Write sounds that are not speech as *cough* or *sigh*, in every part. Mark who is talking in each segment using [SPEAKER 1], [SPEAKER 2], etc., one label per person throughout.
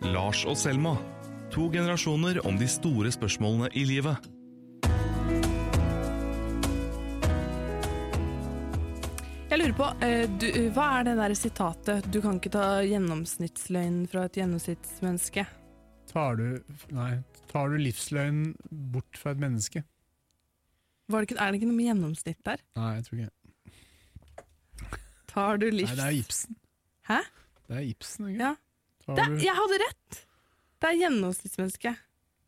[SPEAKER 1] Lars og Selma. To generasjoner om de store spørsmålene i livet.
[SPEAKER 2] Jeg lurer på, eh, du, Hva er det der sitatet 'du kan ikke ta gjennomsnittsløgn fra et gjennomsnittsmenneske'?
[SPEAKER 3] Tar du, nei, tar du livsløgn bort fra et menneske?
[SPEAKER 2] Var det ikke, er det ikke noe med gjennomsnitt der?
[SPEAKER 3] Nei, jeg tror ikke
[SPEAKER 2] Tar du livs...
[SPEAKER 3] Nei, det er Ibsen.
[SPEAKER 2] Hæ?
[SPEAKER 3] Det er Ibsen, ikke?
[SPEAKER 2] Ja.
[SPEAKER 3] Tar,
[SPEAKER 2] Det,
[SPEAKER 3] du,
[SPEAKER 2] jeg hadde rett! Det er gjennomsnittsmenneske.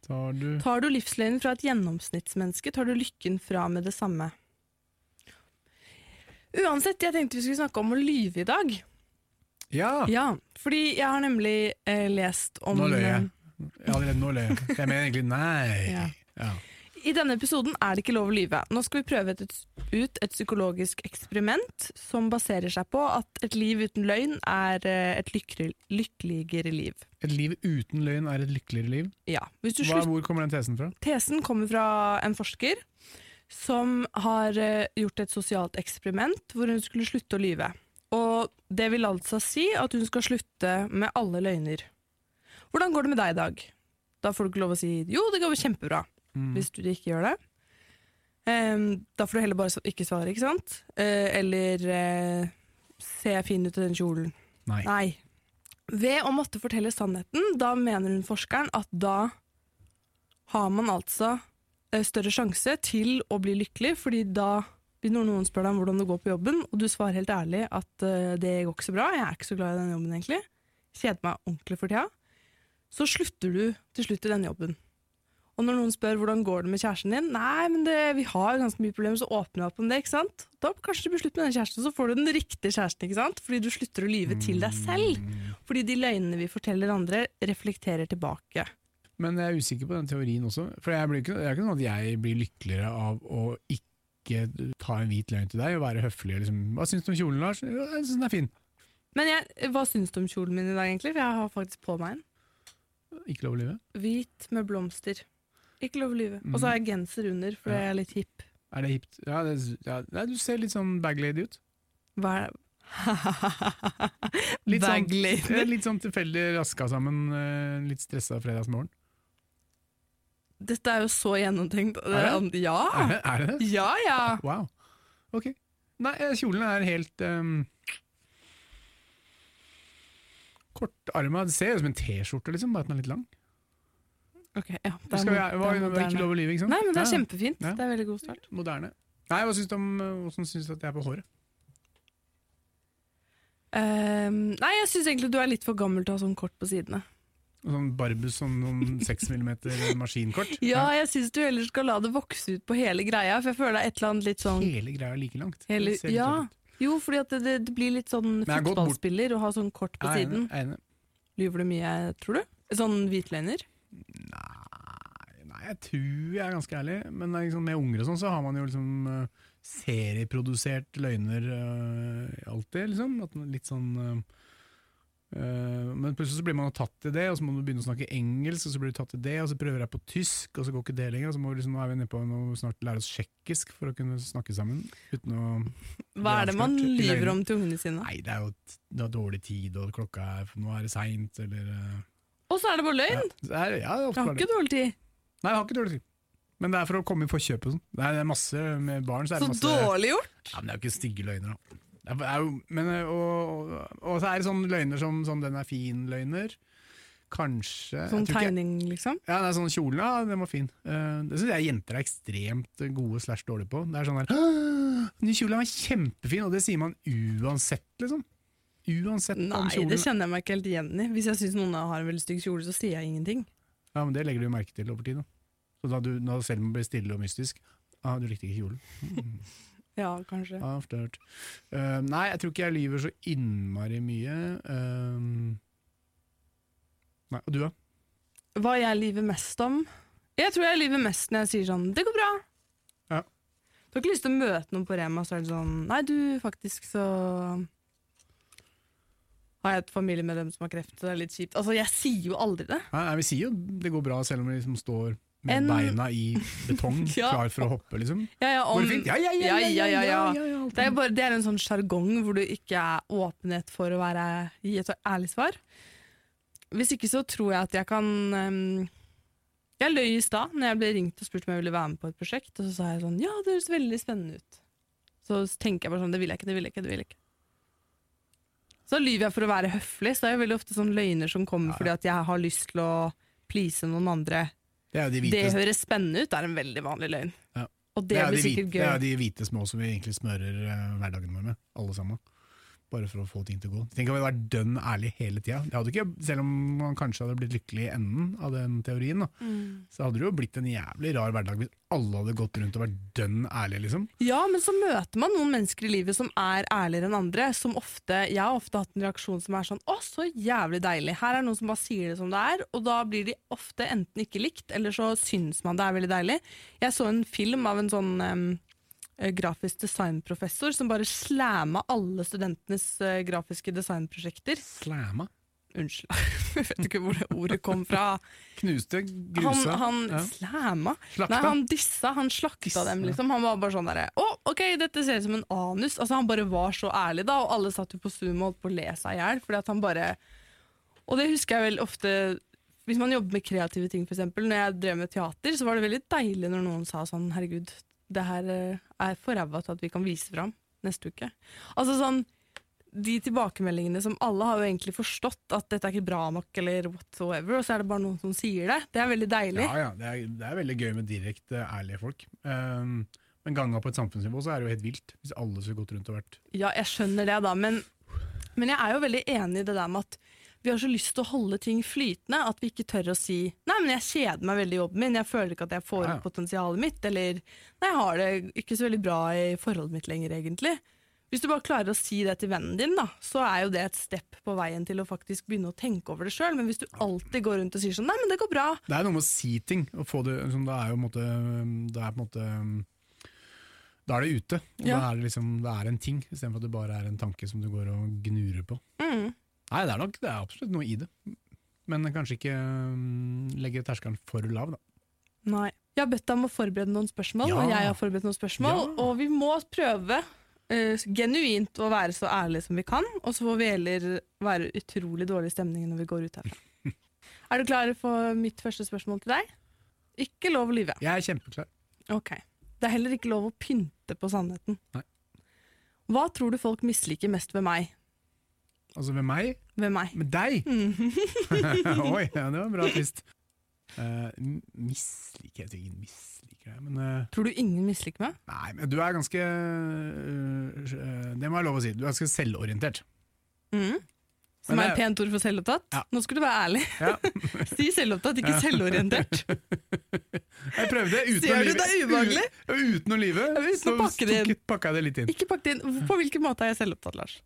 [SPEAKER 3] tar du
[SPEAKER 2] Tar du livsløgnen fra et gjennomsnittsmenneske, tar du lykken fra med det samme. Uansett, jeg tenkte vi skulle snakke om å lyve i dag.
[SPEAKER 3] Ja!
[SPEAKER 2] Ja, fordi jeg har nemlig eh, lest om eh,
[SPEAKER 3] Nå løy jeg. Ja, Allerede nå løy jeg. Jeg mener egentlig nei.
[SPEAKER 2] *laughs* Ja.
[SPEAKER 3] Ja.
[SPEAKER 2] I denne episoden er det ikke lov å lyve. Nå skal vi prøve et, ut et psykologisk eksperiment som baserer seg på at et liv uten løgn er eh, et lykkere- lykkeligere liv.
[SPEAKER 3] Et liv uten løgn er et lykkeligere liv.
[SPEAKER 2] Ja, hvis du
[SPEAKER 3] Hva,
[SPEAKER 2] slutter
[SPEAKER 3] hvor kommer den tesen fra?
[SPEAKER 2] Tesen kommer fra en forsker som har eh, gjort et sosialt eksperiment hvor hun skulle slutte å lyve. Og det vil altså si at hun skal slutte med alle løgner. Hvordan går det med deg i dag? Da får du ikke lov å si 'jo, det går kjempebra',
[SPEAKER 3] Mm.
[SPEAKER 2] hvis du ikke gjør det. Em, da får du heller bare sv- ikke svare, ikke sant? Eh, eller eh, 'se fin ut i den kjolen'.
[SPEAKER 3] Nei.
[SPEAKER 2] Nei. Ved å måtte fortelle sannheten, da mener hun forskeren at da har man altså eh, større sjanse til å bli lykkelig, fordi da hvis noen- noen spør deg om hvordan det går på jobben, og du svarer helt ærlig at eh, det går ikke så bra, jeg er ikke så glad i den jobben egentlig, kjeder meg ordentlig for tida, så slutter du til slutt i den jobben. Og når noen spør hvordan går det med kjæresten din, nei, men det, vi har ganske mye problemer, så åpner jeg opp om det, ikke sant? Da kanskje du blir slutt med den kjæresten, så får du den riktige kjæresten, ikke sant? Fordi du slutter å lyve til deg selv.
[SPEAKER 3] Mm.
[SPEAKER 2] Fordi de løgnene vi forteller andre, reflekterer tilbake.
[SPEAKER 3] Men jeg er usikker på den teorien også. For jeg blir ikke, det er ikke sånn at jeg blir lykkeligere av å ikke ta en hvit løgn til deg og være høflig. og Liksom. Hva syns du om kjolen, Lars? «Ja, Jeg syns den er fin.
[SPEAKER 2] Men jeg, hva syns du om kjolen min i dag, egentlig? For jeg har faktisk på meg en.
[SPEAKER 3] Ikke lov å lyve.
[SPEAKER 2] Hvit med blomster. Ikke lov å lyve. Og så har jeg genser under, for jeg er litt hipp.
[SPEAKER 3] Er det hipt? Ja, det, ja, nei, du ser litt sånn baglady ut.
[SPEAKER 2] Hva er *laughs*
[SPEAKER 3] Litt sånn,
[SPEAKER 2] Baglady.
[SPEAKER 3] Ja, litt sånn tilfeldig raska sammen, eh, litt stressa fredagsmorgen.
[SPEAKER 2] Dette er jo så gjennomtenkt.
[SPEAKER 3] Er
[SPEAKER 2] Ja!
[SPEAKER 3] Er, det- er det det?
[SPEAKER 2] Ja, Ah! ja!
[SPEAKER 3] Wow. Ok. Nei, eh, kjolen er helt um, Kortarma. Det ser ut som en T-skjorte, liksom, bare at den er litt lang.
[SPEAKER 2] Ok, ja. Det
[SPEAKER 3] Det
[SPEAKER 2] mo-
[SPEAKER 3] skal vi, var,
[SPEAKER 2] det er
[SPEAKER 3] var
[SPEAKER 2] moderne.
[SPEAKER 3] ikke lov å lyve, ikke sant?
[SPEAKER 2] Nei, men det er
[SPEAKER 3] Ja,
[SPEAKER 2] kjempefint.
[SPEAKER 3] Ja.
[SPEAKER 2] Det er veldig god start.
[SPEAKER 3] Moderne. Nei, hva syns du om eh, hvordan syns du at jeg er på håret?
[SPEAKER 2] Ehm, nei, jeg syns egentlig du er litt for gammel til å ha sånn kort på sidene.
[SPEAKER 3] Sånn Barbus sånn noen
[SPEAKER 2] *laughs*
[SPEAKER 3] 6 mm maskinkort?
[SPEAKER 2] Ja, jeg syns du heller skal la det vokse ut på hele greia, for jeg føler det er et eller annet litt sånn
[SPEAKER 3] Hele greia er like langt.
[SPEAKER 2] Hele-
[SPEAKER 3] Det ser litt
[SPEAKER 2] ja,
[SPEAKER 3] rart ut.
[SPEAKER 2] Jo, fordi at det, det blir litt sånn
[SPEAKER 3] jeg har gått bort-
[SPEAKER 2] fotballspiller å ha sånn kort på
[SPEAKER 3] Jeg er
[SPEAKER 2] siden.
[SPEAKER 3] enig, jeg er enig.
[SPEAKER 2] Lyver du mye, tror du? Sånn hvitløgner?
[SPEAKER 3] Nei, nei, jeg tror jeg er ganske ærlig, men det er liksom, med unger og sånn, så har man jo liksom eh, serieprodusert løgner eh, alltid, liksom. At man litt sånn eh, eh, men plutselig så blir man tatt i det, og så må du begynne å snakke engelsk, og så blir du tatt i det, og så prøver jeg på tysk, og så går ikke det lenger, og så må vi liksom, nå er vi nede på å snart lære oss tsjekkisk for å kunne snakke sammen uten å
[SPEAKER 2] Hva er det man
[SPEAKER 3] Avslørt
[SPEAKER 2] lyver
[SPEAKER 3] løgner.
[SPEAKER 2] om til ungene sine?
[SPEAKER 3] Nei, det er jo t- det er dårlig tid, og klokka er Nå er det seint, eller eh,
[SPEAKER 2] Og så er det bare
[SPEAKER 3] ja.
[SPEAKER 2] løgn!
[SPEAKER 3] Så er, det- ja, det er
[SPEAKER 2] Jeg
[SPEAKER 3] ofte
[SPEAKER 2] har
[SPEAKER 3] bare det.
[SPEAKER 2] ikke dårlig tid.
[SPEAKER 3] Nei, jeg har ikke dårlig tid. Men det er for å komme i forkjøpet. og Sånn. Det er- det er masse med barn. Så, er
[SPEAKER 2] Så
[SPEAKER 3] det masse,
[SPEAKER 2] dårlig gjort!
[SPEAKER 3] Ja, men det er jo ikke stygge løgner, da. Det er, det er jo, men, eh, og, og, og så er det sånne løgner som sånn 'den er fin'-løgner. Kanskje
[SPEAKER 2] Sånn
[SPEAKER 3] jeg tror ikke-
[SPEAKER 2] tegning, liksom.
[SPEAKER 3] Ja, det er sånn kjolen, ja, den var fin. Eh, det syns jeg jenter er ekstremt gode slash dårlige på. Det er sånn der «Åh, Ny kjole var kjempefin, og det sier man uansett, liksom. Uansett om
[SPEAKER 2] Nei,
[SPEAKER 3] kjolen
[SPEAKER 2] det kjenner jeg meg ikke helt igjen i. Hvis jeg syns noen har en veldig stygg kjole, så sier jeg ingenting.
[SPEAKER 3] Ja, men Det legger du jo merke til over tid. da. Så da du, når Selma blir stille og mystisk ah, 'Du likte ikke kjolen'.
[SPEAKER 2] Ja, kanskje.
[SPEAKER 3] Ah, flørt. Eh, nei, jeg tror ikke jeg lyver så innmari mye. Eh, nei, Og du, da?
[SPEAKER 2] Hva jeg lyver mest om? Jeg tror jeg lyver mest når jeg sier sånn 'det går bra'.
[SPEAKER 3] Ja.
[SPEAKER 2] Du har ikke lyst til å møte noen på Rema, så er det sånn 'nei, du, faktisk så har jeg et familiemedlem som har kreft, så det er litt kjipt. Altså, jeg sier jo aldri det.
[SPEAKER 3] Nei, nei, Vi sier jo det går bra, selv om vi liksom står med
[SPEAKER 2] En-
[SPEAKER 3] beina i betong,
[SPEAKER 2] Ja.
[SPEAKER 3] klar for å hoppe, liksom.
[SPEAKER 2] Ja, ja,
[SPEAKER 3] Går
[SPEAKER 2] om,
[SPEAKER 3] det fint? Ja, ja, ja! ja, ja, ja, ja, ja, alt
[SPEAKER 2] Det er, bare, det er en sånn sjargong hvor du ikke er åpenhet for å være, gi et ærlig svar. Hvis ikke så tror jeg at jeg kan ehm, Jeg løy i stad når jeg ble ringt og spurt om jeg ville være med på et prosjekt, og så sa jeg sånn Ja, det høres veldig spennende ut. Så tenker jeg bare sånn Det vil jeg ikke, det vil jeg ikke, det vil jeg ikke. Så lyver jeg for å være høflig, så det er jo veldig ofte sånn løgner som kommer
[SPEAKER 3] Ja.
[SPEAKER 2] fordi at jeg har lyst til å please noen andre.
[SPEAKER 3] Det er jo de hvite,
[SPEAKER 2] Det
[SPEAKER 3] det
[SPEAKER 2] høres spennende ut, er en veldig vanlig løgn.
[SPEAKER 3] Ja.
[SPEAKER 2] Og det,
[SPEAKER 3] er jo
[SPEAKER 2] blir
[SPEAKER 3] de hvite,
[SPEAKER 2] sikkert gøy.
[SPEAKER 3] det er jo de hvite små som vi egentlig smører eh, hverdagen vår med, alle sammen. Bare for å få ting til å gå. Tenk om vi hadde vært dønn ærlig hele tida. Det hadde ikke, Selv om man kanskje hadde blitt lykkelig i enden av den teorien, da,
[SPEAKER 2] Mm.
[SPEAKER 3] så hadde det jo blitt en jævlig rar hverdag hvis alle hadde gått rundt og vært dønn ærlige, liksom.
[SPEAKER 2] Ja, men så møter man noen mennesker i livet som er ærligere enn andre. Som ofte, jeg har ofte hatt en reaksjon som er sånn 'Å, så jævlig deilig'. Her er noen som bare sier det som det er, og da blir de ofte enten ikke likt, eller så syns man det er veldig deilig. Jeg så en film av en sånn em, eh, grafisk designprofessor som bare slamma alle studentenes eh, grafiske designprosjekter.
[SPEAKER 3] Slamma.
[SPEAKER 2] Unnskyld, *laughs* jeg vet ikke hvor det ordet kom fra.
[SPEAKER 3] Knuste,
[SPEAKER 2] Han,
[SPEAKER 3] grusa.
[SPEAKER 2] han
[SPEAKER 3] ja.
[SPEAKER 2] slamma.
[SPEAKER 3] Slakta.
[SPEAKER 2] Nei, han dissa, han slakta
[SPEAKER 3] Dissa.
[SPEAKER 2] dem, liksom. Han var bare sånn derre Å, ok, dette ser ut som en anus. Altså, han bare var så ærlig, da, og alle satt jo på Zoom og holdt på å le seg i hjel, fordi at han bare Og det husker jeg vel ofte Hvis man jobber med kreative ting, f.eks. Når jeg drev med teater, så var det veldig deilig når noen sa sånn Herregud, det her eh, er for ræva til at vi kan vise fram neste uke. Altså sånn de tilbakemeldingene som alle har jo egentlig forstått at dette er ikke bra nok, eller whatsoever, og så er det bare noen som sier det. Det er veldig deilig.
[SPEAKER 3] Ja, ja, det er, det er veldig gøy med direkte ærlige folk. Um, men ganga på et samfunnsnivå så er det jo helt vilt, hvis alle skulle gått rundt og vært
[SPEAKER 2] Ja, jeg skjønner det, da, men, men jeg er jo veldig enig i det der med at vi har så lyst til å holde ting flytende at vi ikke tør å si Nei, men jeg kjeder meg veldig i jobben min, jeg føler ikke at jeg får
[SPEAKER 3] Ja, ja.
[SPEAKER 2] ut potensialet mitt, eller Nei, jeg har det ikke så veldig bra i forholdet mitt lenger, egentlig. Hvis du bare klarer å si det til vennen din, da, så er jo det et step på veien til å faktisk begynne å tenke over det sjøl. Men hvis du alltid går rundt og sier sånn Nei, men det går bra.
[SPEAKER 3] Det er noe med å si ting. Og få det, liksom, det er jo på en måte, det er på en måte um, Da er det ute. Og
[SPEAKER 2] Ja.
[SPEAKER 3] Da er det, liksom, det er en ting, istedenfor at det bare er en tanke som du går og gnurer på.
[SPEAKER 2] Mm.
[SPEAKER 3] Nei, det er nok det er absolutt noe i det. Men kanskje ikke um, legge terskelen for lav, da.
[SPEAKER 2] Nei. Jeg har bedt deg om å forberede noen spørsmål,
[SPEAKER 3] Ja.
[SPEAKER 2] og jeg har forberedt noen spørsmål.
[SPEAKER 3] Ja.
[SPEAKER 2] Og vi må prøve eh, genuint å være så ærlige som vi kan, og så får vi heller være utrolig dårlig stemning når vi går ut
[SPEAKER 3] *laughs*
[SPEAKER 2] herfra. er du klar for mitt første spørsmål til deg? Ikke lov å lyve.
[SPEAKER 3] Jeg er kjempeklar.
[SPEAKER 2] Ok. Det er heller ikke lov å pynte på sannheten.
[SPEAKER 3] Nei.
[SPEAKER 2] Hva tror du folk misliker mest ved meg?
[SPEAKER 3] Altså ved meg
[SPEAKER 2] Ved meg?
[SPEAKER 3] Med deg? *laughs*
[SPEAKER 2] Mhm.
[SPEAKER 3] Oi, ja, det var bra twist. Uh, misliker jeg tror ikke misliker deg, men eh,
[SPEAKER 2] Tror du ingen misliker meg?
[SPEAKER 3] Nei, men du er ganske øh, øh, Det må jeg lov å si. Du er ganske selvorientert.
[SPEAKER 2] Mhm. Som
[SPEAKER 3] Men
[SPEAKER 2] er
[SPEAKER 3] det-
[SPEAKER 2] et pent ord for selvopptatt?
[SPEAKER 3] Ja.
[SPEAKER 2] Nå skal du være ærlig.
[SPEAKER 3] Ja.
[SPEAKER 2] *laughs* si selvopptatt, ikke
[SPEAKER 3] Ja.
[SPEAKER 2] selvorientert.
[SPEAKER 3] Jeg prøvde uten
[SPEAKER 2] Ser
[SPEAKER 3] å
[SPEAKER 2] du,
[SPEAKER 3] lyve.
[SPEAKER 2] det er ubehagelig.
[SPEAKER 3] U- Uten å lyve,
[SPEAKER 2] Ja, uten å
[SPEAKER 3] så
[SPEAKER 2] pakke det
[SPEAKER 3] tok- pakka jeg det litt inn.
[SPEAKER 2] Ikke pakket inn. På hvilken måte er jeg selvopptatt, Lars?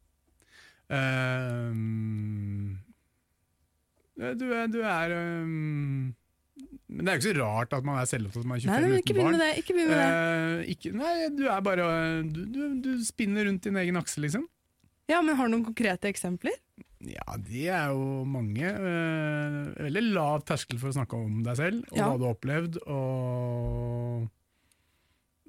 [SPEAKER 3] Eh, du er, du er ehm, Men det er jo ikke så rart at man er selvopptatt når man er
[SPEAKER 2] Nei, nei, men
[SPEAKER 3] 25 uten
[SPEAKER 2] ikke begynn
[SPEAKER 3] barn.
[SPEAKER 2] med det. Ikke begynn med det.
[SPEAKER 3] Eh, ikke, nei, du er bare øh, du, du, du spinner rundt din egen akse, liksom.
[SPEAKER 2] Ja, men Har du noen konkrete eksempler?
[SPEAKER 3] Ja, de er jo mange. eh, veldig lav terskel for å snakke om deg selv og
[SPEAKER 2] Ja.
[SPEAKER 3] hva du har opplevd. Og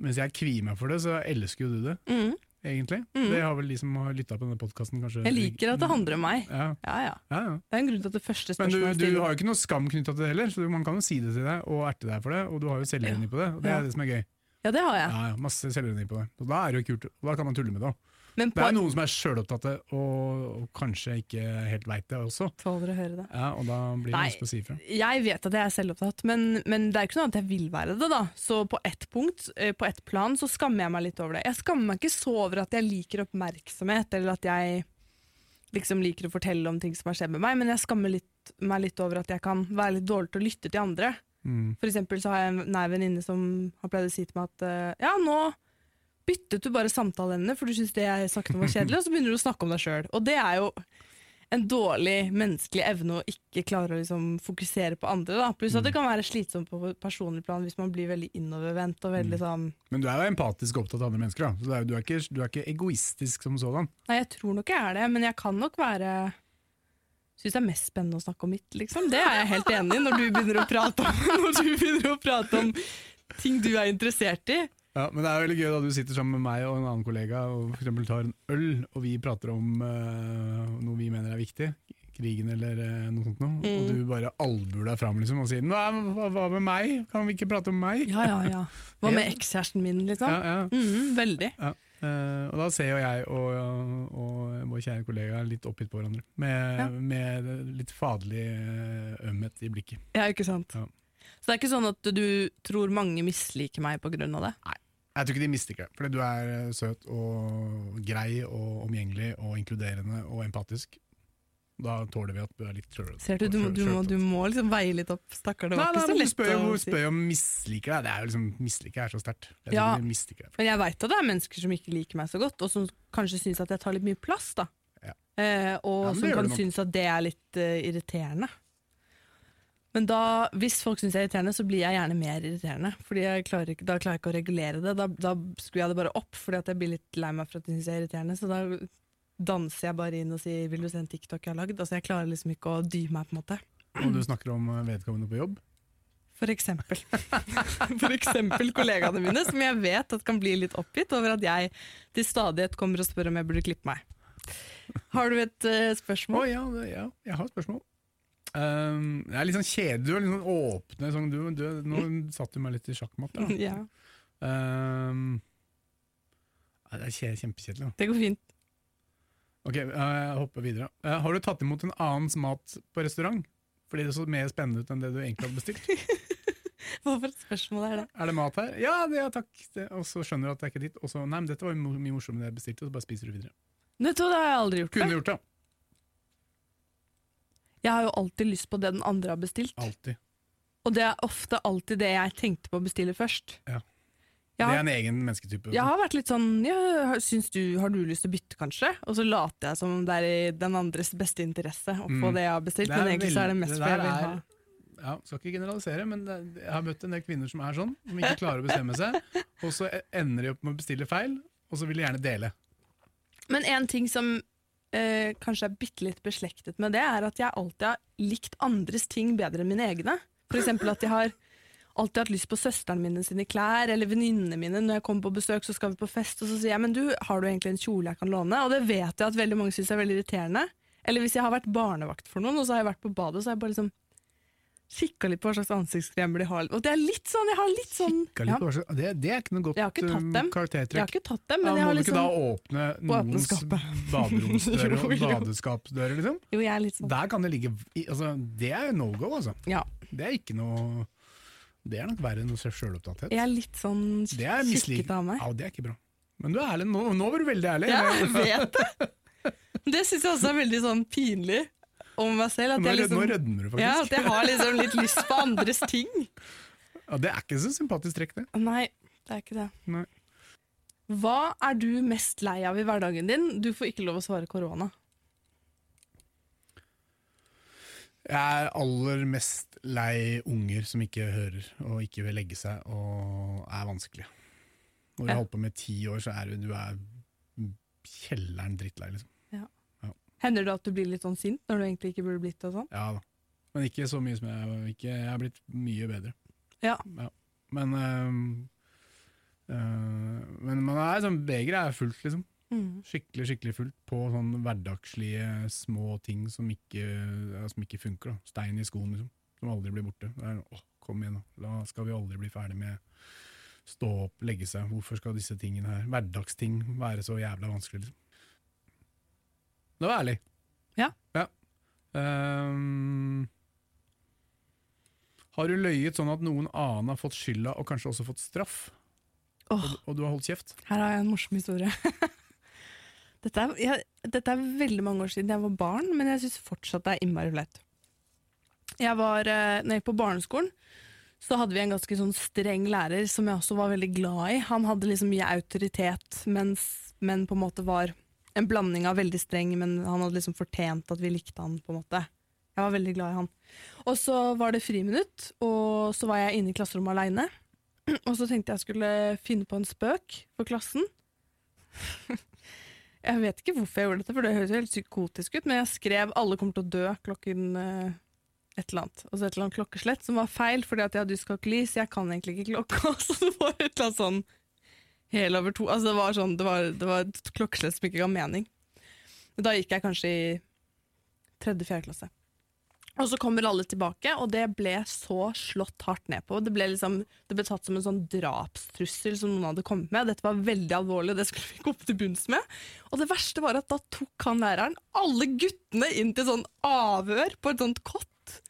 [SPEAKER 3] mens jeg kvier meg for det, så elsker jo du det,
[SPEAKER 2] Mm.
[SPEAKER 3] egentlig.
[SPEAKER 2] Mm.
[SPEAKER 3] Det har vel de som har lytta på denne podkasten, kanskje
[SPEAKER 2] Jeg liker at det handler om meg.
[SPEAKER 3] Ja,
[SPEAKER 2] Ja, ja.
[SPEAKER 3] ja, ja.
[SPEAKER 2] Det er en grunn til at det første
[SPEAKER 3] Men du,
[SPEAKER 2] spørsmålet
[SPEAKER 3] du
[SPEAKER 2] jeg stiller
[SPEAKER 3] har jo ikke noe skam knytta til det heller, så man kan jo si det til deg og erte deg for det. Og du har jo selvironi på det, og det
[SPEAKER 2] Ja.
[SPEAKER 3] er det som er gøy.
[SPEAKER 2] Ja, det har
[SPEAKER 3] Ja,
[SPEAKER 2] jeg.
[SPEAKER 3] ja, Masse selvironi på det. Og da er det jo kult, og da kan man tulle med det òg.
[SPEAKER 2] Men
[SPEAKER 3] Det
[SPEAKER 2] på
[SPEAKER 3] er noen som er sjølopptatte og, og kanskje ikke helt veit det også,
[SPEAKER 2] tåler å høre det.
[SPEAKER 3] ja, og da blir det
[SPEAKER 2] Nei.
[SPEAKER 3] vanskelig å si ifra.
[SPEAKER 2] Jeg vet at jeg er selvopptatt, men, men det er ikke noe annet jeg vil være det. da. Så på ett punkt, eh, på ett plan, så skammer jeg meg litt over det. Jeg skammer meg ikke så over at jeg liker oppmerksomhet, eller at jeg liksom liker å fortelle om ting som har skjedd med meg, men jeg skammer litt, meg litt over at jeg kan være litt dårlig til å lytte til andre.
[SPEAKER 3] Mm.
[SPEAKER 2] For eksempel så har jeg en nær venninne som har pleid å si til meg at eh, ja, nå byttet du bare samtaleemne, for du syntes det jeg snakket om var kjedelig, og så begynner du å snakke om deg sjøl. Og det er jo en dårlig menneskelig evne å ikke klare å liksom fokusere på andre. Da. Pluss at det kan være slitsomt på personlig plan hvis man blir veldig innovervendt og veldig sånn
[SPEAKER 3] Men du er jo empatisk opptatt av andre mennesker, da. Så det er, jo- du, er ikke, du er ikke egoistisk som sådan.
[SPEAKER 2] Nei, jeg tror nok jeg er det, men jeg kan nok være Syns det er mest spennende å snakke om mitt, liksom. Det er jeg helt enig i, når du begynner å prate om, *laughs* når du begynner å prate om ting du er interessert i.
[SPEAKER 3] Ja, men det er veldig gøy da du sitter sammen med meg og en annen kollega og for eksempel tar en øl, og vi prater om eh, noe vi mener er viktig. krigen eller eh, noe sånt, noe,
[SPEAKER 2] Mm.
[SPEAKER 3] og du bare albuer deg fram liksom, og sier Nei, men hva, hva med meg? Kan vi ikke prate om meg?
[SPEAKER 2] Ja, ja, ja. Hva med ekskjæresten min,
[SPEAKER 3] Ja,
[SPEAKER 2] liksom?
[SPEAKER 3] ja.
[SPEAKER 2] Mhm, veldig.
[SPEAKER 3] Eh, og da ser jo jeg og, og vår kjære kollega litt oppgitt på hverandre, med,
[SPEAKER 2] Ja.
[SPEAKER 3] med litt faderlig eh, ømhet i blikket.
[SPEAKER 2] Ja, ikke sant?
[SPEAKER 3] Ja.
[SPEAKER 2] Så det er ikke sånn at du tror mange misliker meg på grunn av det?
[SPEAKER 3] Jeg tror ikke de mister det, fordi du er eh, søt og grei og omgjengelig og inkluderende og empatisk. Da tåler vi at du er litt sjølete.
[SPEAKER 2] Ser du, du, må- du, må, du må liksom veie litt opp, stakkar. Det
[SPEAKER 3] Nei,
[SPEAKER 2] var
[SPEAKER 3] nei,
[SPEAKER 2] ikke så
[SPEAKER 3] men du
[SPEAKER 2] lett
[SPEAKER 3] spør jo
[SPEAKER 2] å
[SPEAKER 3] hun
[SPEAKER 2] si.
[SPEAKER 3] spør jo om misliker deg. Det er jo liksom, misliker er så sterkt. Jeg tror
[SPEAKER 2] Ja.
[SPEAKER 3] de misliker deg.
[SPEAKER 2] Men jeg veit at det er mennesker som ikke liker meg så godt, og som kanskje syns at jeg tar litt mye plass. da.
[SPEAKER 3] Ja.
[SPEAKER 2] Eh, og
[SPEAKER 3] Ja, men det
[SPEAKER 2] som
[SPEAKER 3] gjør
[SPEAKER 2] kan
[SPEAKER 3] du nok.
[SPEAKER 2] synes at det er litt eh, irriterende. Men da, hvis folk syns jeg er irriterende, så blir jeg gjerne mer irriterende. Fordi jeg klarer ikke, Da klarer jeg ikke å regulere det. Da, da skrur jeg det bare opp, fordi at jeg blir litt lei meg for at de syns jeg er irriterende. Så da danser jeg bare inn og sier 'vil du se en TikTok jeg har lagd'? Altså Jeg klarer liksom ikke å dy meg, på en måte.
[SPEAKER 3] Og du snakker om eh, vedkommende på jobb.
[SPEAKER 2] For eksempel. *laughs* For eksempel kollegaene mine, som jeg vet at kan bli litt oppgitt over at jeg til stadighet kommer og spør om jeg burde klippe meg. Har du et eh,
[SPEAKER 3] Å
[SPEAKER 2] spørsmål?
[SPEAKER 3] ja, det, ja, jeg har et spørsmål. Um, det er litt sånn kjedelig, du er litt sånn åpne. Sånn, du, du, nå satt du meg litt i
[SPEAKER 2] *laughs*
[SPEAKER 3] sjakkmatt. da.
[SPEAKER 2] Ja,
[SPEAKER 3] Um, ja, det er kje- kjempekjedelig. da.
[SPEAKER 2] det går fint.
[SPEAKER 3] Ok, eh, jeg hopper videre. Eh, har du tatt imot en annens mat på restaurant? Fordi det så mer spennende ut enn det du egentlig hadde bestilt.
[SPEAKER 2] *laughs* Hva for et spørsmål er det?
[SPEAKER 3] Er det mat her? Ja, det, ja takk. Det, og så skjønner du at det er ikke ditt. Og så nei, men dette var jo mo- mye morsommere enn det jeg bestilte, og så bare spiser du videre.
[SPEAKER 2] Vet du hva, det har jeg aldri gjort
[SPEAKER 3] Kunne
[SPEAKER 2] før.
[SPEAKER 3] gjort det.
[SPEAKER 2] Jeg har jo alltid lyst på det den andre har bestilt.
[SPEAKER 3] Alltid.
[SPEAKER 2] Og det er ofte alltid det jeg tenkte på å bestille først.
[SPEAKER 3] Ja.
[SPEAKER 2] Jeg
[SPEAKER 3] Det er
[SPEAKER 2] har,
[SPEAKER 3] en egen mennesketype.
[SPEAKER 2] jeg har vært litt sånn ja, syns du, Har du lyst til å bytte, kanskje? Og så later jeg som om det er i den andres beste interesse å få
[SPEAKER 3] Mm.
[SPEAKER 2] det jeg har bestilt.
[SPEAKER 3] Det er
[SPEAKER 2] Men egentlig så er det
[SPEAKER 3] veldig-
[SPEAKER 2] mest
[SPEAKER 3] det
[SPEAKER 2] fordi jeg
[SPEAKER 3] der
[SPEAKER 2] vil
[SPEAKER 3] er-
[SPEAKER 2] ha
[SPEAKER 3] ja, skal ikke generalisere, men det, jeg har møtt en del kvinner som er sånn, som ikke klarer å bestemme seg,
[SPEAKER 2] *laughs*
[SPEAKER 3] og så e, ender de opp med å bestille feil, og så vil de gjerne dele.
[SPEAKER 2] Men en ting som eh, kanskje er bitte litt beslektet med det, er at jeg alltid har likt andres ting bedre enn mine egne. For eksempel at jeg har alltid hatt lyst på søsteren mine sine klær, eller venninnene mine. Når jeg kommer på besøk, så skal vi på fest, og så sier jeg men du, har du egentlig en kjole jeg kan låne? Og det vet jeg at veldig mange syns er veldig irriterende. Eller hvis jeg har vært barnevakt for noen, og så har jeg vært på badet, så har jeg bare liksom kikka litt på hva slags ansiktskremer de har. Og det er litt sånn, jeg har litt sånn ja,
[SPEAKER 3] Det, det er ikke noe godt
[SPEAKER 2] Jeg har ikke tatt dem.
[SPEAKER 3] um,
[SPEAKER 2] Jeg har
[SPEAKER 3] karaktertrekk.
[SPEAKER 2] ikke tatt dem,
[SPEAKER 3] Da
[SPEAKER 2] men
[SPEAKER 3] må
[SPEAKER 2] jeg har
[SPEAKER 3] du ikke da
[SPEAKER 2] liksom
[SPEAKER 3] åpne
[SPEAKER 2] Åpne
[SPEAKER 3] noens
[SPEAKER 2] skapet.
[SPEAKER 3] *laughs* baderomsdører og
[SPEAKER 2] *laughs* Jo, jo.
[SPEAKER 3] badeskapsdører, liksom.
[SPEAKER 2] Jo, jeg er litt sånn.
[SPEAKER 3] Der kan det ligge i- altså, Det er no go, altså.
[SPEAKER 2] Ja.
[SPEAKER 3] Det er ikke noe Det er nok verre enn sjølopptatthet.
[SPEAKER 2] Jeg er litt sånn
[SPEAKER 3] Det er mislik-
[SPEAKER 2] kikkete av meg.
[SPEAKER 3] Ja, det er ikke bra. Men du er ærlig nå. Nå var du veldig ærlig.
[SPEAKER 2] Ja, jeg vet det! Men Det syns jeg også er veldig sånn pinlig om meg selv. At
[SPEAKER 3] nå,
[SPEAKER 2] jeg,
[SPEAKER 3] nå
[SPEAKER 2] liksom,
[SPEAKER 3] rødmer du, faktisk.
[SPEAKER 2] ja, at jeg har liksom litt lyst på andres ting.
[SPEAKER 3] Ja, det er ikke så sympatisk trekk, det.
[SPEAKER 2] Nei, det er ikke det.
[SPEAKER 3] Nei.
[SPEAKER 2] Hva er du mest lei av i hverdagen din? Du får ikke lov å svare korona.
[SPEAKER 3] Jeg er aller mest lei unger som ikke hører og ikke vil legge seg og er vanskelig. Når du
[SPEAKER 2] Ja.
[SPEAKER 3] har holdt på med ti år, så er du, du er kjelleren drittlei, liksom.
[SPEAKER 2] Hender det at du blir litt sånn sint når du egentlig ikke burde blitt det? og sånn?
[SPEAKER 3] Ja da. Men ikke så mye som jeg ikke, Jeg er blitt mye bedre.
[SPEAKER 2] Ja.
[SPEAKER 3] Men øhm, øh, Men man er sånn Begeret er fullt, liksom.
[SPEAKER 2] Mm.
[SPEAKER 3] Skikkelig skikkelig fullt på sånn hverdagslige små ting som ikke, ja, som ikke funker. Da. Stein i skoen, liksom. Som aldri blir borte. Det er, åh, kom igjen, da. da skal vi aldri bli ferdig med stå opp, legge seg. Hvorfor skal disse tingene her, hverdagsting, være så jævla vanskelig, liksom? Det var ærlig.
[SPEAKER 2] Ja.
[SPEAKER 3] Ehm, har du løyet sånn at noen annen har fått skylda og kanskje også fått straff,
[SPEAKER 2] Åh,
[SPEAKER 3] og du har holdt kjeft?
[SPEAKER 2] her har jeg en morsom historie. *laughs* dette, er, jeg, dette er veldig mange år siden jeg var barn, men jeg syns fortsatt det er innmari flaut. Jeg var, eh, når jeg gikk på barneskolen, så hadde vi en ganske sånn streng lærer som jeg også var veldig glad i. Han hadde liksom mye autoritet, mens, men på en måte var en blanding av veldig streng, men han hadde liksom fortjent at vi likte han, på en måte. Jeg var veldig glad i han. Og så var det friminutt, og så var jeg inne i klasserommet aleine. Og så tenkte jeg skulle finne på en spøk for klassen. *laughs* jeg vet ikke hvorfor jeg gjorde dette, for det høres jo helt psykotisk ut, men jeg skrev 'alle kommer til å dø' klokken eh, et eller annet. Og så et eller annet klokkeslett som var feil, fordi at jeg hadde dyskalkuli, så jeg kan egentlig ikke klokka. *laughs* Så det var et eller annet sånn hel over to Altså det var, sånn, det var, det var et klokkeslett som ikke ga mening. Da gikk jeg kanskje i tredje-fjerde klasse. Og så kommer alle tilbake, og det ble så slått hardt ned på. Det ble, liksom, det ble tatt som en sånn drapstrussel som noen hadde kommet med. Dette var veldig alvorlig, og det skulle vi gå opp til bunns med. Og det verste var at da tok han læreren alle guttene inn til sånn avhør på et sånt kott.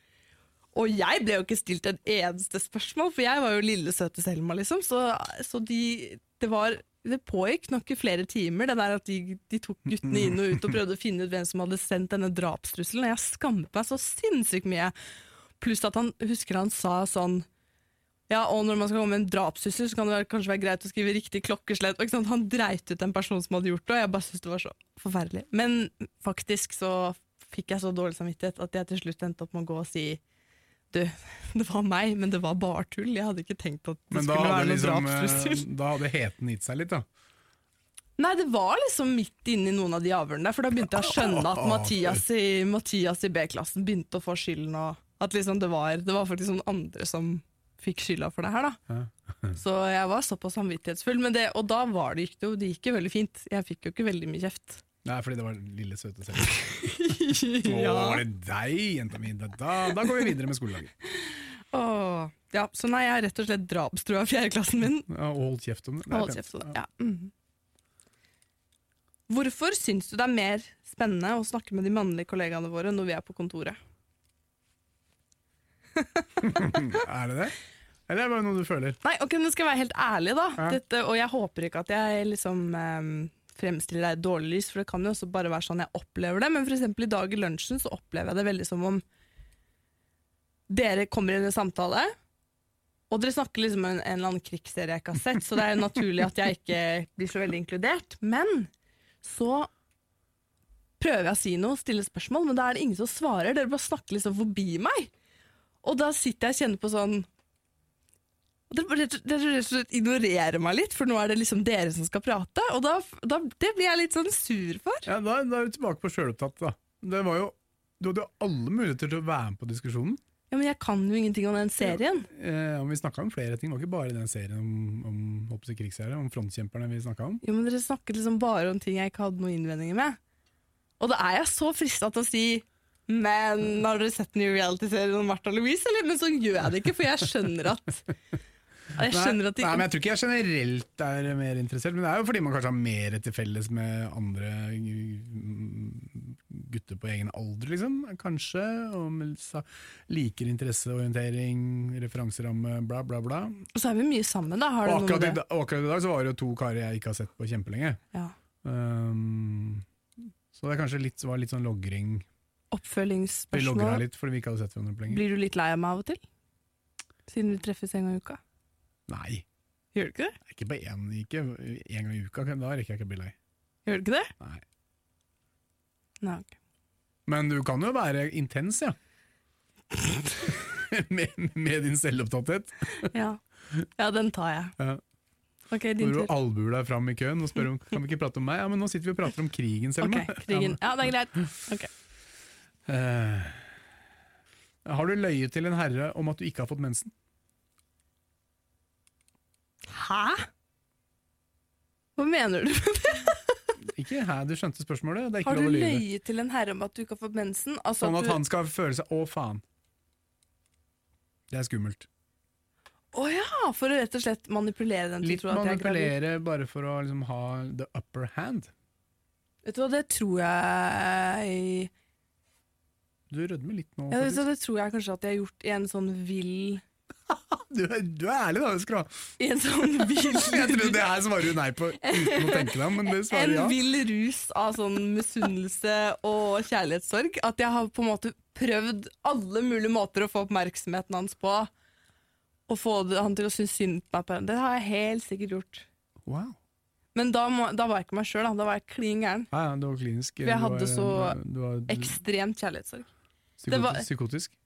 [SPEAKER 2] Og jeg ble jo ikke stilt et eneste spørsmål, for jeg var jo lille, søte Selma, liksom. Så, så de, det, var, det pågikk nok i flere timer, det der at de, de tok guttene inn og ut og prøvde å finne ut hvem som hadde sendt denne drapstrusselen. Og jeg skammet meg så sinnssykt mye. Pluss at han husker han sa sånn ja, og når man skal komme med en drapssyssel, så kan det være, kanskje være greit å skrive riktig klokkeslett. Og Ikke sant? Han dreit ut en person som hadde gjort det, og jeg bare syntes det var så forferdelig. Men faktisk så fikk jeg så dårlig samvittighet at jeg til slutt endte opp med å gå og si du, *laughs* det var meg, men det var bare tull. Jeg hadde ikke tenkt at det
[SPEAKER 3] Men da
[SPEAKER 2] skulle
[SPEAKER 3] hadde,
[SPEAKER 2] være noen
[SPEAKER 3] liksom,
[SPEAKER 2] drapstrussel.
[SPEAKER 3] eh, da hadde heten gitt seg litt, da.
[SPEAKER 2] Nei, det var liksom midt inne i noen av de avhørene der, for da begynte jeg å skjønne at Mathias i, Mathias i B-klassen begynte å få skylden, og at liksom det var, det var faktisk noen andre som fikk skylda for det her, da.
[SPEAKER 3] *laughs*
[SPEAKER 2] Så jeg var såpass samvittighetsfull, men det, og da var det, gikk det jo det gikk jo veldig fint. Jeg fikk jo ikke veldig mye kjeft.
[SPEAKER 3] Nei, fordi det var lille søte selv.
[SPEAKER 2] *laughs*
[SPEAKER 3] Å, var det deg, jenta mi? Da, da, da går vi videre med skoledagen.
[SPEAKER 2] Åh. ja, så nei, jeg er rett og slett drapstrua i fjerdeklassen min.
[SPEAKER 3] Ja, Og hold kjeft om det. det. er
[SPEAKER 2] Hold
[SPEAKER 3] pent.
[SPEAKER 2] kjeft på det. Ja. Mhm. Hvorfor syns du det er mer spennende å snakke med de mannlige kollegaene våre når vi er på kontoret?
[SPEAKER 3] Er det det? Eller er det bare noe du føler?
[SPEAKER 2] Nei, ok, nå skal jeg være helt ærlig da
[SPEAKER 3] Ja.
[SPEAKER 2] Dette, Og jeg håper ikke at jeg liksom ehm, Fremstiller deg i dårlig lys For det kan jo også bare være sånn jeg opplever det Men for eksempel i dag i lunsjen så opplever jeg det veldig som om Dere kommer inn i en samtale Og dere snakker liksom om en, en eller annen krigsserie jeg ikke har sett Så det er jo naturlig at jeg ikke blir så veldig inkludert Men så prøver jeg å si noe, stille spørsmål Men da er det ingen som svarer Dere bare snakker liksom forbi meg Og da sitter jeg og kjenner på sånn og Dere bare rett og- dere rett og slett ignorerer meg litt, for nå er det liksom dere som skal prate. Og da, da, det blir jeg litt sånn sur for.
[SPEAKER 3] Ja, da, da er du tilbake på sjølopptatt, da. Det var jo, du hadde jo alle muligheter til å være med på diskusjonen.
[SPEAKER 2] Ja, Men jeg kan jo ingenting om den serien.
[SPEAKER 3] Eh, og vi snakka om flere ting, det var ikke bare den serien om, om håper jeg, krigsserier, om frontkjemperne vi snakka om.
[SPEAKER 2] Jo, men Dere snakket liksom bare om ting jeg ikke hadde noen innvendinger med. Og da er jeg så frista til å si men har dere sett den nye realityserien om Martha Louise, eller? Men så gjør jeg det ikke, for jeg skjønner at
[SPEAKER 3] *laughs*
[SPEAKER 2] Jeg skjønner at de,
[SPEAKER 3] Nei, men Jeg tror ikke jeg generelt er mer interessert, men det er jo fordi man kanskje har mer til felles med andre mm, gutter på egen alder, liksom. Kanskje. Og med sa- liker interesseorientering, referanseramme, bla, bla, bla.
[SPEAKER 2] Og så er vi mye sammen, da. Har
[SPEAKER 3] Og
[SPEAKER 2] det noe
[SPEAKER 3] akkurat, i,
[SPEAKER 2] med det?
[SPEAKER 3] da- og akkurat i dag så var det jo to karer jeg ikke har sett på kjempelenge.
[SPEAKER 2] Ja.
[SPEAKER 3] Um, så det er kanskje litt, var litt sånn logring. Vi logra
[SPEAKER 2] Oppfølgingsspørsmål.
[SPEAKER 3] litt fordi vi ikke hadde sett hverandre på lenge.
[SPEAKER 2] Blir du litt lei av meg av og til? Siden vi treffes en gang i uka?
[SPEAKER 3] Nei,
[SPEAKER 2] Gjør du ikke det?
[SPEAKER 3] ikke på én ikke en gang i uka. Da rekker jeg ikke å bli lei.
[SPEAKER 2] Gjør du ikke det?
[SPEAKER 3] Nei.
[SPEAKER 2] Nei, ok.
[SPEAKER 3] Men du kan jo være intens, ja. med, med din selvopptatthet.
[SPEAKER 2] Ja. ja, den tar jeg.
[SPEAKER 3] Ja.
[SPEAKER 2] Ok, din
[SPEAKER 3] Når du
[SPEAKER 2] tur.
[SPEAKER 3] albuer deg fram i køen og spør om kan vi ikke prate om meg. Ja, men nå sitter vi og prater om krigen,
[SPEAKER 2] Ok,
[SPEAKER 3] Selma.
[SPEAKER 2] krigen. Ja, det er greit.
[SPEAKER 3] Ja, men, eh, har du løyet til en herre om at du ikke har fått mensen?
[SPEAKER 2] Hæ? Hva mener du?
[SPEAKER 3] Ikke hæ, du skjønte spørsmålet. Det er ikke
[SPEAKER 2] Har du
[SPEAKER 3] lov å lyve.
[SPEAKER 2] løyet til en herre om at du ikke har fått mensen? Altså
[SPEAKER 3] Sånn
[SPEAKER 2] at
[SPEAKER 3] at
[SPEAKER 2] du...
[SPEAKER 3] han skal føle seg Å, faen. Det er skummelt.
[SPEAKER 2] Å ja, for å rett og slett manipulere den til å
[SPEAKER 3] Litt
[SPEAKER 2] tro at jeg er gravid.
[SPEAKER 3] manipulere bare for å liksom ha the upper hand.
[SPEAKER 2] Vet du hva, det tror jeg
[SPEAKER 3] Du rødmer litt nå.
[SPEAKER 2] ja, vet du,
[SPEAKER 3] faktisk.
[SPEAKER 2] hva, Det tror jeg kanskje at jeg har gjort i en sånn vill
[SPEAKER 3] Du, er, du er ærlig, da. Skra.
[SPEAKER 2] I en sånn
[SPEAKER 3] *laughs*
[SPEAKER 2] vill
[SPEAKER 3] Jeg trodde det her svarer du nei på uten å tenke deg om, men det
[SPEAKER 2] *laughs* en
[SPEAKER 3] svarer ja.
[SPEAKER 2] vill rus av sånn misunnelse og kjærlighetssorg. At jeg har på en måte prøvd alle mulige måter å få oppmerksomheten hans på. Og få det, han til å synes synd på meg. på- Det har jeg helt sikkert gjort.
[SPEAKER 3] Wow.
[SPEAKER 2] Men da, må, da var jeg ikke meg sjøl, da. da var jeg klin gæren.
[SPEAKER 3] Ja, ja, det var klinisk.
[SPEAKER 2] jeg hadde så
[SPEAKER 3] du var
[SPEAKER 2] Ekstremt kjærlighetssorg. det
[SPEAKER 3] psykotisk.
[SPEAKER 2] var-
[SPEAKER 3] psykotisk.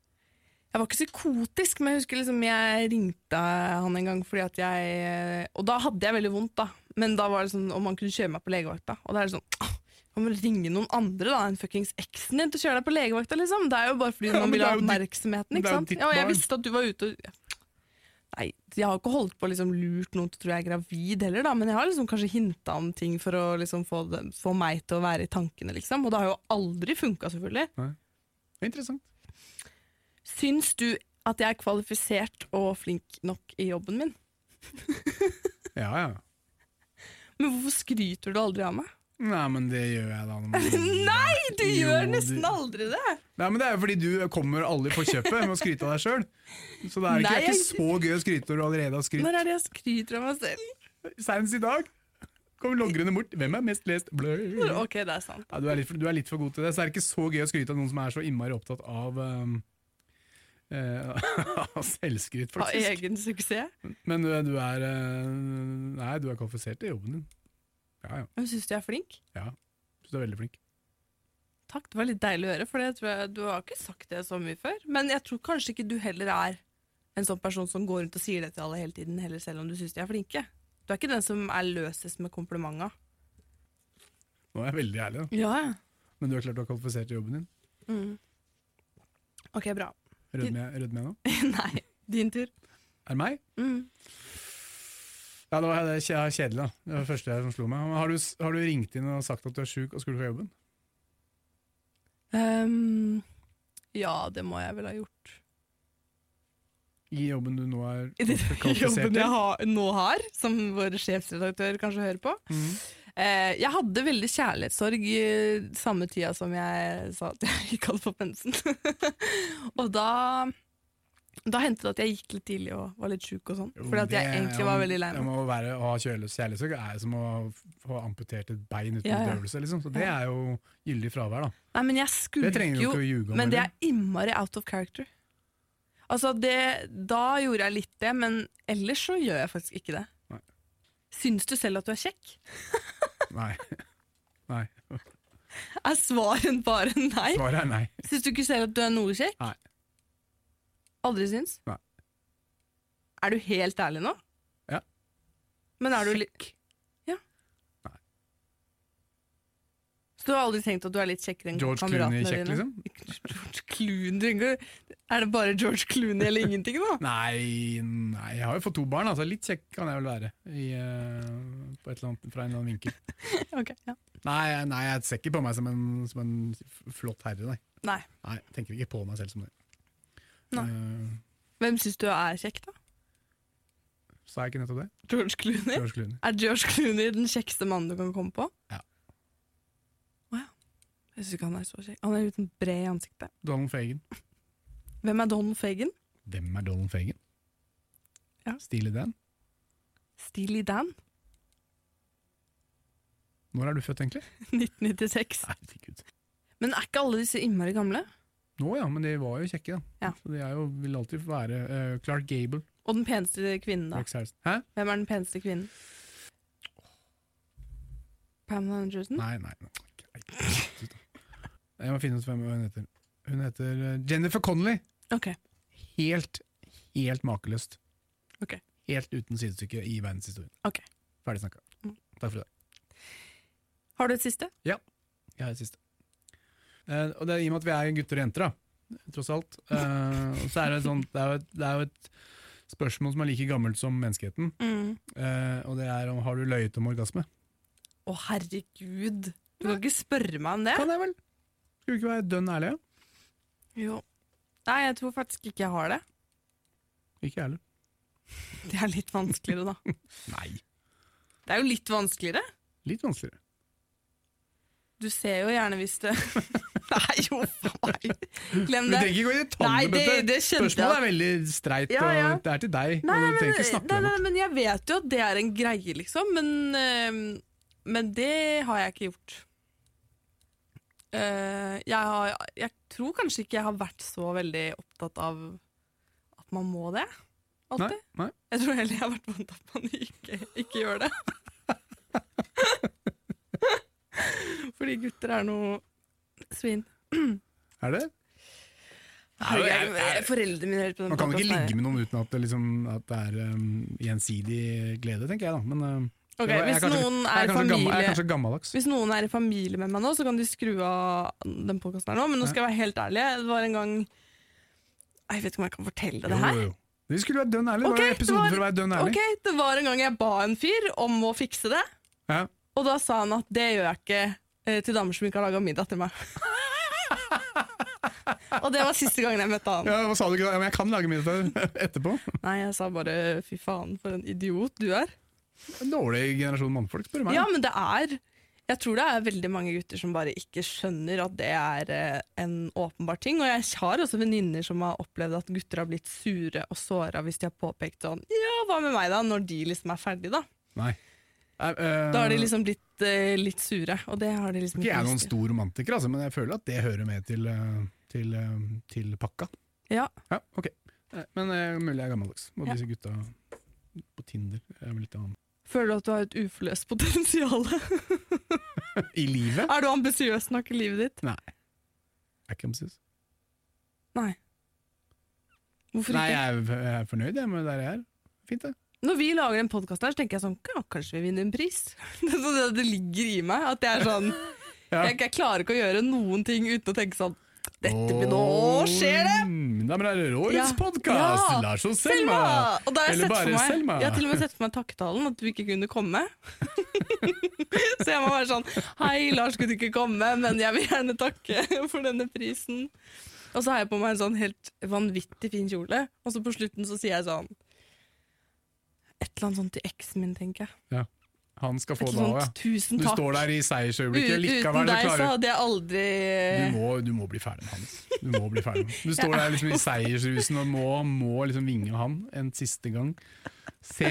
[SPEAKER 2] Jeg var ikke psykotisk, men jeg husker liksom jeg ringte han en gang fordi at jeg Og da hadde jeg veldig vondt, da. Men da var det sånn om han kunne kjøre meg på legevakta. Og da er det sånn «Åh, man må ringe noen andre da enn fuckings eksen din til å kjøre deg på legevakta, liksom. Det er jo bare
[SPEAKER 3] *laughs*
[SPEAKER 2] fordi
[SPEAKER 3] Ja, men
[SPEAKER 2] man vil
[SPEAKER 3] det
[SPEAKER 2] ha
[SPEAKER 3] er jo ditt-
[SPEAKER 2] oppmerksomheten,
[SPEAKER 3] det er
[SPEAKER 2] ikke
[SPEAKER 3] jo
[SPEAKER 2] sant.
[SPEAKER 3] ditt
[SPEAKER 2] Ja, og jeg
[SPEAKER 3] barn.
[SPEAKER 2] visste at du var ute og Nei, jeg har ikke holdt på å liksom lurt noen til å tro jeg er gravid heller, da, men jeg har liksom kanskje hinta om ting for å liksom få, det, få meg til å være i tankene, liksom. Og det har jo aldri funka, selvfølgelig.
[SPEAKER 3] Interessant.
[SPEAKER 2] Syns du at jeg er kvalifisert og flink nok i jobben min?
[SPEAKER 3] Ja, ja.
[SPEAKER 2] Men hvorfor skryter du aldri av meg?
[SPEAKER 3] Nei, men det gjør jeg da.
[SPEAKER 2] *laughs* Nei, du
[SPEAKER 3] Mm. Jo,
[SPEAKER 2] gjør
[SPEAKER 3] du-
[SPEAKER 2] nesten aldri det!
[SPEAKER 3] Nei, men Det er jo fordi du kommer aldri på kjøpet med å skryte av deg sjøl. Så det er
[SPEAKER 2] Nei,
[SPEAKER 3] ikke, det er ikke
[SPEAKER 2] jeg-
[SPEAKER 3] så gøy å skryte når du allerede har skrytt.
[SPEAKER 2] Når er det jeg skryter av meg selv?
[SPEAKER 3] Senest i dag kom logrende bort. Hvem er mest lest? Blø.
[SPEAKER 2] Når- Ok, det er sant.
[SPEAKER 3] Ja, du, er litt for, du er litt for god til det, så er det ikke så gøy å skryte av noen som er så innmari opptatt av um, eh, *laughs* av selvskryt,
[SPEAKER 2] Av
[SPEAKER 3] faktisk.
[SPEAKER 2] egen suksess.
[SPEAKER 3] Men du, du er eh, Nei, du er kvalifisert til jobben din. Ja, ja.
[SPEAKER 2] Men syns du jeg er flink?
[SPEAKER 3] Så du er veldig flink.
[SPEAKER 2] Takk, det var litt deilig å høre, for det tror jeg, du har ikke sagt det så mye før. Men jeg tror kanskje ikke du heller er en sånn person som går rundt og sier det til alle hele tiden, heller selv om du syns de er flinke. Du er ikke den som er løsest med komplimenta.
[SPEAKER 3] Nå er jeg veldig ærlig, da.
[SPEAKER 2] Ja,
[SPEAKER 3] Men du er klart du er kvalifisert til jobben din.
[SPEAKER 2] Mm. Ok, bra. *laughs*
[SPEAKER 3] Rødmer jeg, rødmer jeg nå?
[SPEAKER 2] Nei, din tur.
[SPEAKER 3] Er det meg?
[SPEAKER 2] Mm.
[SPEAKER 3] Ja, det var det er kje- kjedelig, da. Det var det første jeg som slo meg. Men Har du, s- har du ringt inn og sagt at du er sjuk og skulle fra jobben?
[SPEAKER 2] Ehm, ja, det må jeg vel ha gjort.
[SPEAKER 3] I jobben du nå er
[SPEAKER 2] I den
[SPEAKER 3] kvalifisert
[SPEAKER 2] jobben jeg
[SPEAKER 3] til?
[SPEAKER 2] har, nå har, som vår sjefsredaktør kanskje hører på.
[SPEAKER 3] Mhm.
[SPEAKER 2] Eh, jeg hadde veldig kjærlighetssorg i samme tida som jeg sa at jeg ikke hadde fått mensen. *laughs* og da, da hendte det at jeg gikk litt tidlig og var litt sjuk og sånn.
[SPEAKER 3] Jo,
[SPEAKER 2] Fordi at jeg
[SPEAKER 3] det-
[SPEAKER 2] egentlig var
[SPEAKER 3] ja,
[SPEAKER 2] veldig lei
[SPEAKER 3] det
[SPEAKER 2] meg.
[SPEAKER 3] må være, Å ha kjøløs kjærlighetssorg er som å få amputert et bein uten
[SPEAKER 2] Ja, ja.
[SPEAKER 3] bedøvelse, liksom. Så det
[SPEAKER 2] Ja.
[SPEAKER 3] er jo gyldig fravær, da.
[SPEAKER 2] Nei, men jeg
[SPEAKER 3] Det
[SPEAKER 2] skulker
[SPEAKER 3] trenger du
[SPEAKER 2] jo
[SPEAKER 3] ikke å ljuge om.
[SPEAKER 2] Men det
[SPEAKER 3] heller.
[SPEAKER 2] er innmari out of character. Altså, det, da gjorde jeg litt det, men ellers så gjør jeg faktisk ikke det.
[SPEAKER 3] Nei.
[SPEAKER 2] Syns du selv at du er kjekk?
[SPEAKER 3] Nei. *laughs* nei.
[SPEAKER 2] Er svaren bare nei?
[SPEAKER 3] Svaret er nei.
[SPEAKER 2] Syns du ikke selv at du er noe kjekk?
[SPEAKER 3] Nei.
[SPEAKER 2] Aldri syns?
[SPEAKER 3] Nei.
[SPEAKER 2] Er du helt ærlig nå?
[SPEAKER 3] Ja.
[SPEAKER 2] Men er du litt Ja.
[SPEAKER 3] Nei.
[SPEAKER 2] Så du har aldri tenkt at du er litt kjekkere enn
[SPEAKER 3] George Clooney
[SPEAKER 2] kameratene
[SPEAKER 3] kjekk,
[SPEAKER 2] dine?
[SPEAKER 3] liksom?
[SPEAKER 2] *laughs* George Clooney? Er det bare George Clooney eller ingenting, da?
[SPEAKER 3] Nei, nei, jeg har jo fått to barn, altså. Litt kjekk kan jeg vel være. I, eh, på et eller annet, fra en eller annen vinkel.
[SPEAKER 2] Ok, ja.
[SPEAKER 3] Nei, nei jeg ser ikke på meg som en, som en f- flott herre, nei.
[SPEAKER 2] Nei.
[SPEAKER 3] Nei, jeg tenker ikke på meg selv som det.
[SPEAKER 2] Nei.
[SPEAKER 3] Eh,
[SPEAKER 2] Hvem syns du er kjekk, da?
[SPEAKER 3] sa jeg ikke nettopp det?
[SPEAKER 2] George Clooney?
[SPEAKER 3] George Clooney.
[SPEAKER 2] Er George Clooney den kjekkeste mannen du kan komme på?
[SPEAKER 3] Ja.
[SPEAKER 2] Å ja. Jeg syns ikke han er så kjekk. Han er litt sånn bred i ansiktet.
[SPEAKER 3] Donald Fagan.
[SPEAKER 2] Hvem er Don Fagan?
[SPEAKER 3] Hvem er Donald Fagan?
[SPEAKER 2] Ja.
[SPEAKER 3] Steely Dan.
[SPEAKER 2] Steely Dan? *laughs*
[SPEAKER 3] Når er du født, egentlig?
[SPEAKER 2] 1996.
[SPEAKER 3] Herregud.
[SPEAKER 2] Men er ikke alle disse innmari gamle?
[SPEAKER 3] Nå ja, men de var jo kjekke, da.
[SPEAKER 2] Ja.
[SPEAKER 3] Så de er jo, vil alltid være eh, Clark Gable.
[SPEAKER 2] Og den peneste kvinnen, da?
[SPEAKER 3] Rex Harrison. Hæ?
[SPEAKER 2] Hvem er den peneste kvinnen? Pamela Anderson?
[SPEAKER 3] Nei, nei. nei. Nei, Jeg må finne ut hvem hun heter. Hun heter eh, Jennifer Connolly.
[SPEAKER 2] Ok.
[SPEAKER 3] Helt, helt makeløst.
[SPEAKER 2] Ok.
[SPEAKER 3] Helt uten sidestykke i verdenshistorien.
[SPEAKER 2] Ok.
[SPEAKER 3] Ferdig snakka.
[SPEAKER 2] Mm.
[SPEAKER 3] Takk for i dag.
[SPEAKER 2] Har du et siste?
[SPEAKER 3] Jeg har det siste. Eh, og det er i og med at vi er gutter og jenter, da, tross alt, eh, og så er det, sånn, det, er jo et, det er jo et spørsmål som er like gammelt som menneskeheten.
[SPEAKER 2] Å,
[SPEAKER 3] eh, og det er om har du løyet om orgasme.
[SPEAKER 2] herregud! Du kan ikke spørre meg om det?
[SPEAKER 3] Kan jeg vel? Skulle vi ikke være dønn ærlige?
[SPEAKER 2] Jo. Nei, jeg tror faktisk ikke jeg har det.
[SPEAKER 3] Ikke jeg heller.
[SPEAKER 2] *laughs* Det er litt vanskeligere, da.
[SPEAKER 3] *laughs* Nei.
[SPEAKER 2] Det er jo litt vanskeligere.
[SPEAKER 3] Litt vanskeligere.
[SPEAKER 2] Du ser jo gjerne hvis det *laughs* Nei, jo, faen! Glem
[SPEAKER 3] Du
[SPEAKER 2] det.
[SPEAKER 3] trenger ikke gå i
[SPEAKER 2] Nei,
[SPEAKER 3] detalj,
[SPEAKER 2] det,
[SPEAKER 3] Bente.
[SPEAKER 2] det skjønte jeg.
[SPEAKER 3] Spørsmålet er veldig streit,
[SPEAKER 2] Ja, ja.
[SPEAKER 3] og det er til deg.
[SPEAKER 2] Nei,
[SPEAKER 3] og
[SPEAKER 2] nei,
[SPEAKER 3] du
[SPEAKER 2] men,
[SPEAKER 3] trenger ikke snakke
[SPEAKER 2] nei,
[SPEAKER 3] deg
[SPEAKER 2] nei,
[SPEAKER 3] bort.
[SPEAKER 2] men jeg vet jo at det er en greie, liksom. Men, eh, men det har jeg ikke gjort. Eh, jeg, har, jeg tror kanskje ikke jeg har vært så veldig opptatt av at man må det. Alltid.
[SPEAKER 3] nei.
[SPEAKER 2] Jeg tror heller jeg har vært vant til at man ikke, ikke
[SPEAKER 3] *laughs*
[SPEAKER 2] gjør det. Fordi gutter er noe svin.
[SPEAKER 3] Er det?
[SPEAKER 2] Herregud,
[SPEAKER 3] jeg-
[SPEAKER 2] jeg- jeg- Foreldrene mine hører på den
[SPEAKER 3] Man kan jo ikke
[SPEAKER 2] podcasten her.
[SPEAKER 3] ligge med noen uten at det, liksom, at det er um, gjensidig glede, tenker jeg da. Men, um,
[SPEAKER 2] Ok,
[SPEAKER 3] jeg- jeg
[SPEAKER 2] hvis
[SPEAKER 3] er kanskje-
[SPEAKER 2] noen
[SPEAKER 3] jeg,
[SPEAKER 2] er
[SPEAKER 3] er kanskje gammel, jeg er
[SPEAKER 2] familie
[SPEAKER 3] kanskje gammeldags.
[SPEAKER 2] Hvis noen er i familie med meg nå, så kan de skru av den podkasten her nå. Men nå skal jeg være helt ærlig. Det var en gang Jeg vet ikke om jeg kan fortelle det her.
[SPEAKER 3] Jo, jo, jo. Vi skulle være dønn ærlig.
[SPEAKER 2] Ok,
[SPEAKER 3] det var jo
[SPEAKER 2] det
[SPEAKER 3] episoden
[SPEAKER 2] var-
[SPEAKER 3] for å være dønn ærlig.
[SPEAKER 2] Ok, Det var en gang jeg ba en fyr om å fikse det,
[SPEAKER 3] Ja.
[SPEAKER 2] og da sa han at det gjør jeg ikke eh, til damer som ikke har laga middag til meg. Og det var siste gangen jeg møtte han.
[SPEAKER 3] Ja, hva sa du ikke da? Ja, men jeg kan lage middag etterpå. *laughs*
[SPEAKER 2] Nei, jeg sa bare fy faen, for en idiot du er.
[SPEAKER 3] En dårlig generasjon mannfolk, spør du meg.
[SPEAKER 2] Ja, men det er Jeg tror det er veldig mange gutter som bare ikke skjønner at det er eh, en åpenbar ting. Og jeg har også venninner som har opplevd at gutter har blitt sure og såra hvis de har påpekt sånn Ja, hva med meg, da? Når de liksom er ferdig, da.
[SPEAKER 3] Nei. Nei, eh,
[SPEAKER 2] Da har de liksom blitt eh, litt sure, og det har de liksom
[SPEAKER 3] Ikke jeg er
[SPEAKER 2] lyst
[SPEAKER 3] noen
[SPEAKER 2] til.
[SPEAKER 3] stor romantiker, altså, men jeg føler at det hører med til, eh, til, eh, til pakka.
[SPEAKER 2] Ja.
[SPEAKER 3] Ja, ok. Eh, Men eh, mulig jeg er gammeldags. Og
[SPEAKER 2] Ja.
[SPEAKER 3] disse gutta på Tinder er vel litt annen.
[SPEAKER 2] Føler du at du har et uforløst potensial?
[SPEAKER 3] *laughs* I livet?
[SPEAKER 2] er du ambisiøs nok i livet ditt?
[SPEAKER 3] Er ikke ambisiøs.
[SPEAKER 2] Nei. Hvorfor
[SPEAKER 3] Nei,
[SPEAKER 2] ikke?
[SPEAKER 3] jeg er, jeg er fornøyd jeg, med der jeg er. Fint, det.
[SPEAKER 2] Når vi lager en podkast her, så tenker jeg sånn ja, Kanskje vi vinner en pris? *laughs* det, er sånn at det ligger i meg. At jeg er sånn
[SPEAKER 3] Ja.
[SPEAKER 2] jeg, jeg klarer ikke å gjøre noen ting uten å tenke sånn Dette blir Nå skjer det!
[SPEAKER 3] Da blir det årets
[SPEAKER 2] Ja.
[SPEAKER 3] podkast!
[SPEAKER 2] Ja.
[SPEAKER 3] Lars og
[SPEAKER 2] Selma!
[SPEAKER 3] Selma!
[SPEAKER 2] Og da har jeg,
[SPEAKER 3] Eller
[SPEAKER 2] sett for
[SPEAKER 3] bare
[SPEAKER 2] meg,
[SPEAKER 3] Selma.
[SPEAKER 2] jeg har til og med sett for meg takketalen, at du ikke kunne komme. *laughs* så jeg må være sånn Hei, Lars kunne ikke komme, men jeg vil gjerne takke for denne prisen. Og så har jeg på meg en sånn helt vanvittig fin kjole, og så på slutten så sier jeg sånn Et eller annet sånt til eksen min, tenker jeg.
[SPEAKER 3] Han skal
[SPEAKER 2] Et
[SPEAKER 3] få det
[SPEAKER 2] eller
[SPEAKER 3] òg, ja.
[SPEAKER 2] annet tusen
[SPEAKER 3] Du
[SPEAKER 2] sånn takk.
[SPEAKER 3] står der i seiersøyeblikket,
[SPEAKER 2] U-
[SPEAKER 3] likevel
[SPEAKER 2] Uten
[SPEAKER 3] du
[SPEAKER 2] deg så
[SPEAKER 3] klarer
[SPEAKER 2] hadde jeg aldri Eh.
[SPEAKER 3] du må, du må bli ferdig med Hans. Du må bli ferdig med han. Du står der liksom i seiersrusen og må, må liksom vinge han en siste gang. Se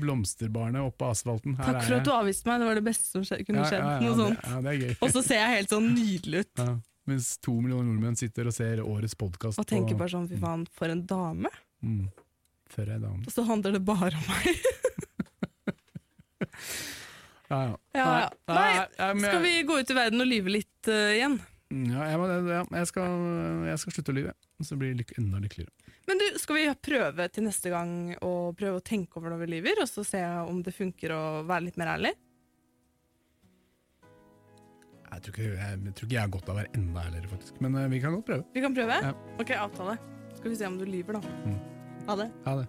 [SPEAKER 3] blomsterbarnet oppe på asfalten. Her
[SPEAKER 2] Takk for
[SPEAKER 3] er
[SPEAKER 2] at du avviste meg, det var det beste som skje- kunne skjedd. Noe
[SPEAKER 3] det-
[SPEAKER 2] sånt.
[SPEAKER 3] Ja, det er gøy.
[SPEAKER 2] Og så ser jeg helt sånn nydelig ut
[SPEAKER 3] Ja. Mens to millioner nordmenn sitter og ser årets podkast
[SPEAKER 2] og tenker bare sånn fy faen, for en dame.
[SPEAKER 3] mm, For ei dame.
[SPEAKER 2] Og så handler det bare om meg.
[SPEAKER 3] Ja, ja.
[SPEAKER 2] Ja, ja. Nei,
[SPEAKER 3] ja, men jeg- Mm,
[SPEAKER 2] Skal vi gå ut i verden og lyve litt eh, igjen?
[SPEAKER 3] Ja, jeg, må, ja, jeg, skal, jeg skal slutte å lyve, så blir jeg lyk- enda lykkeligere.
[SPEAKER 2] Men du, skal vi prøve til neste gang å prøve å tenke over når vi lyver, og så se om det funker å være litt mer ærlig?
[SPEAKER 3] Jeg tror, ikke, jeg, jeg tror ikke jeg har godt av å være enda ærligere, faktisk. Men eh, vi kan godt prøve.
[SPEAKER 2] Vi kan prøve?
[SPEAKER 3] Ja. Mm.
[SPEAKER 2] Ok, avtale. Skal vi se om du lyver, da. Ha det.
[SPEAKER 3] Ha det.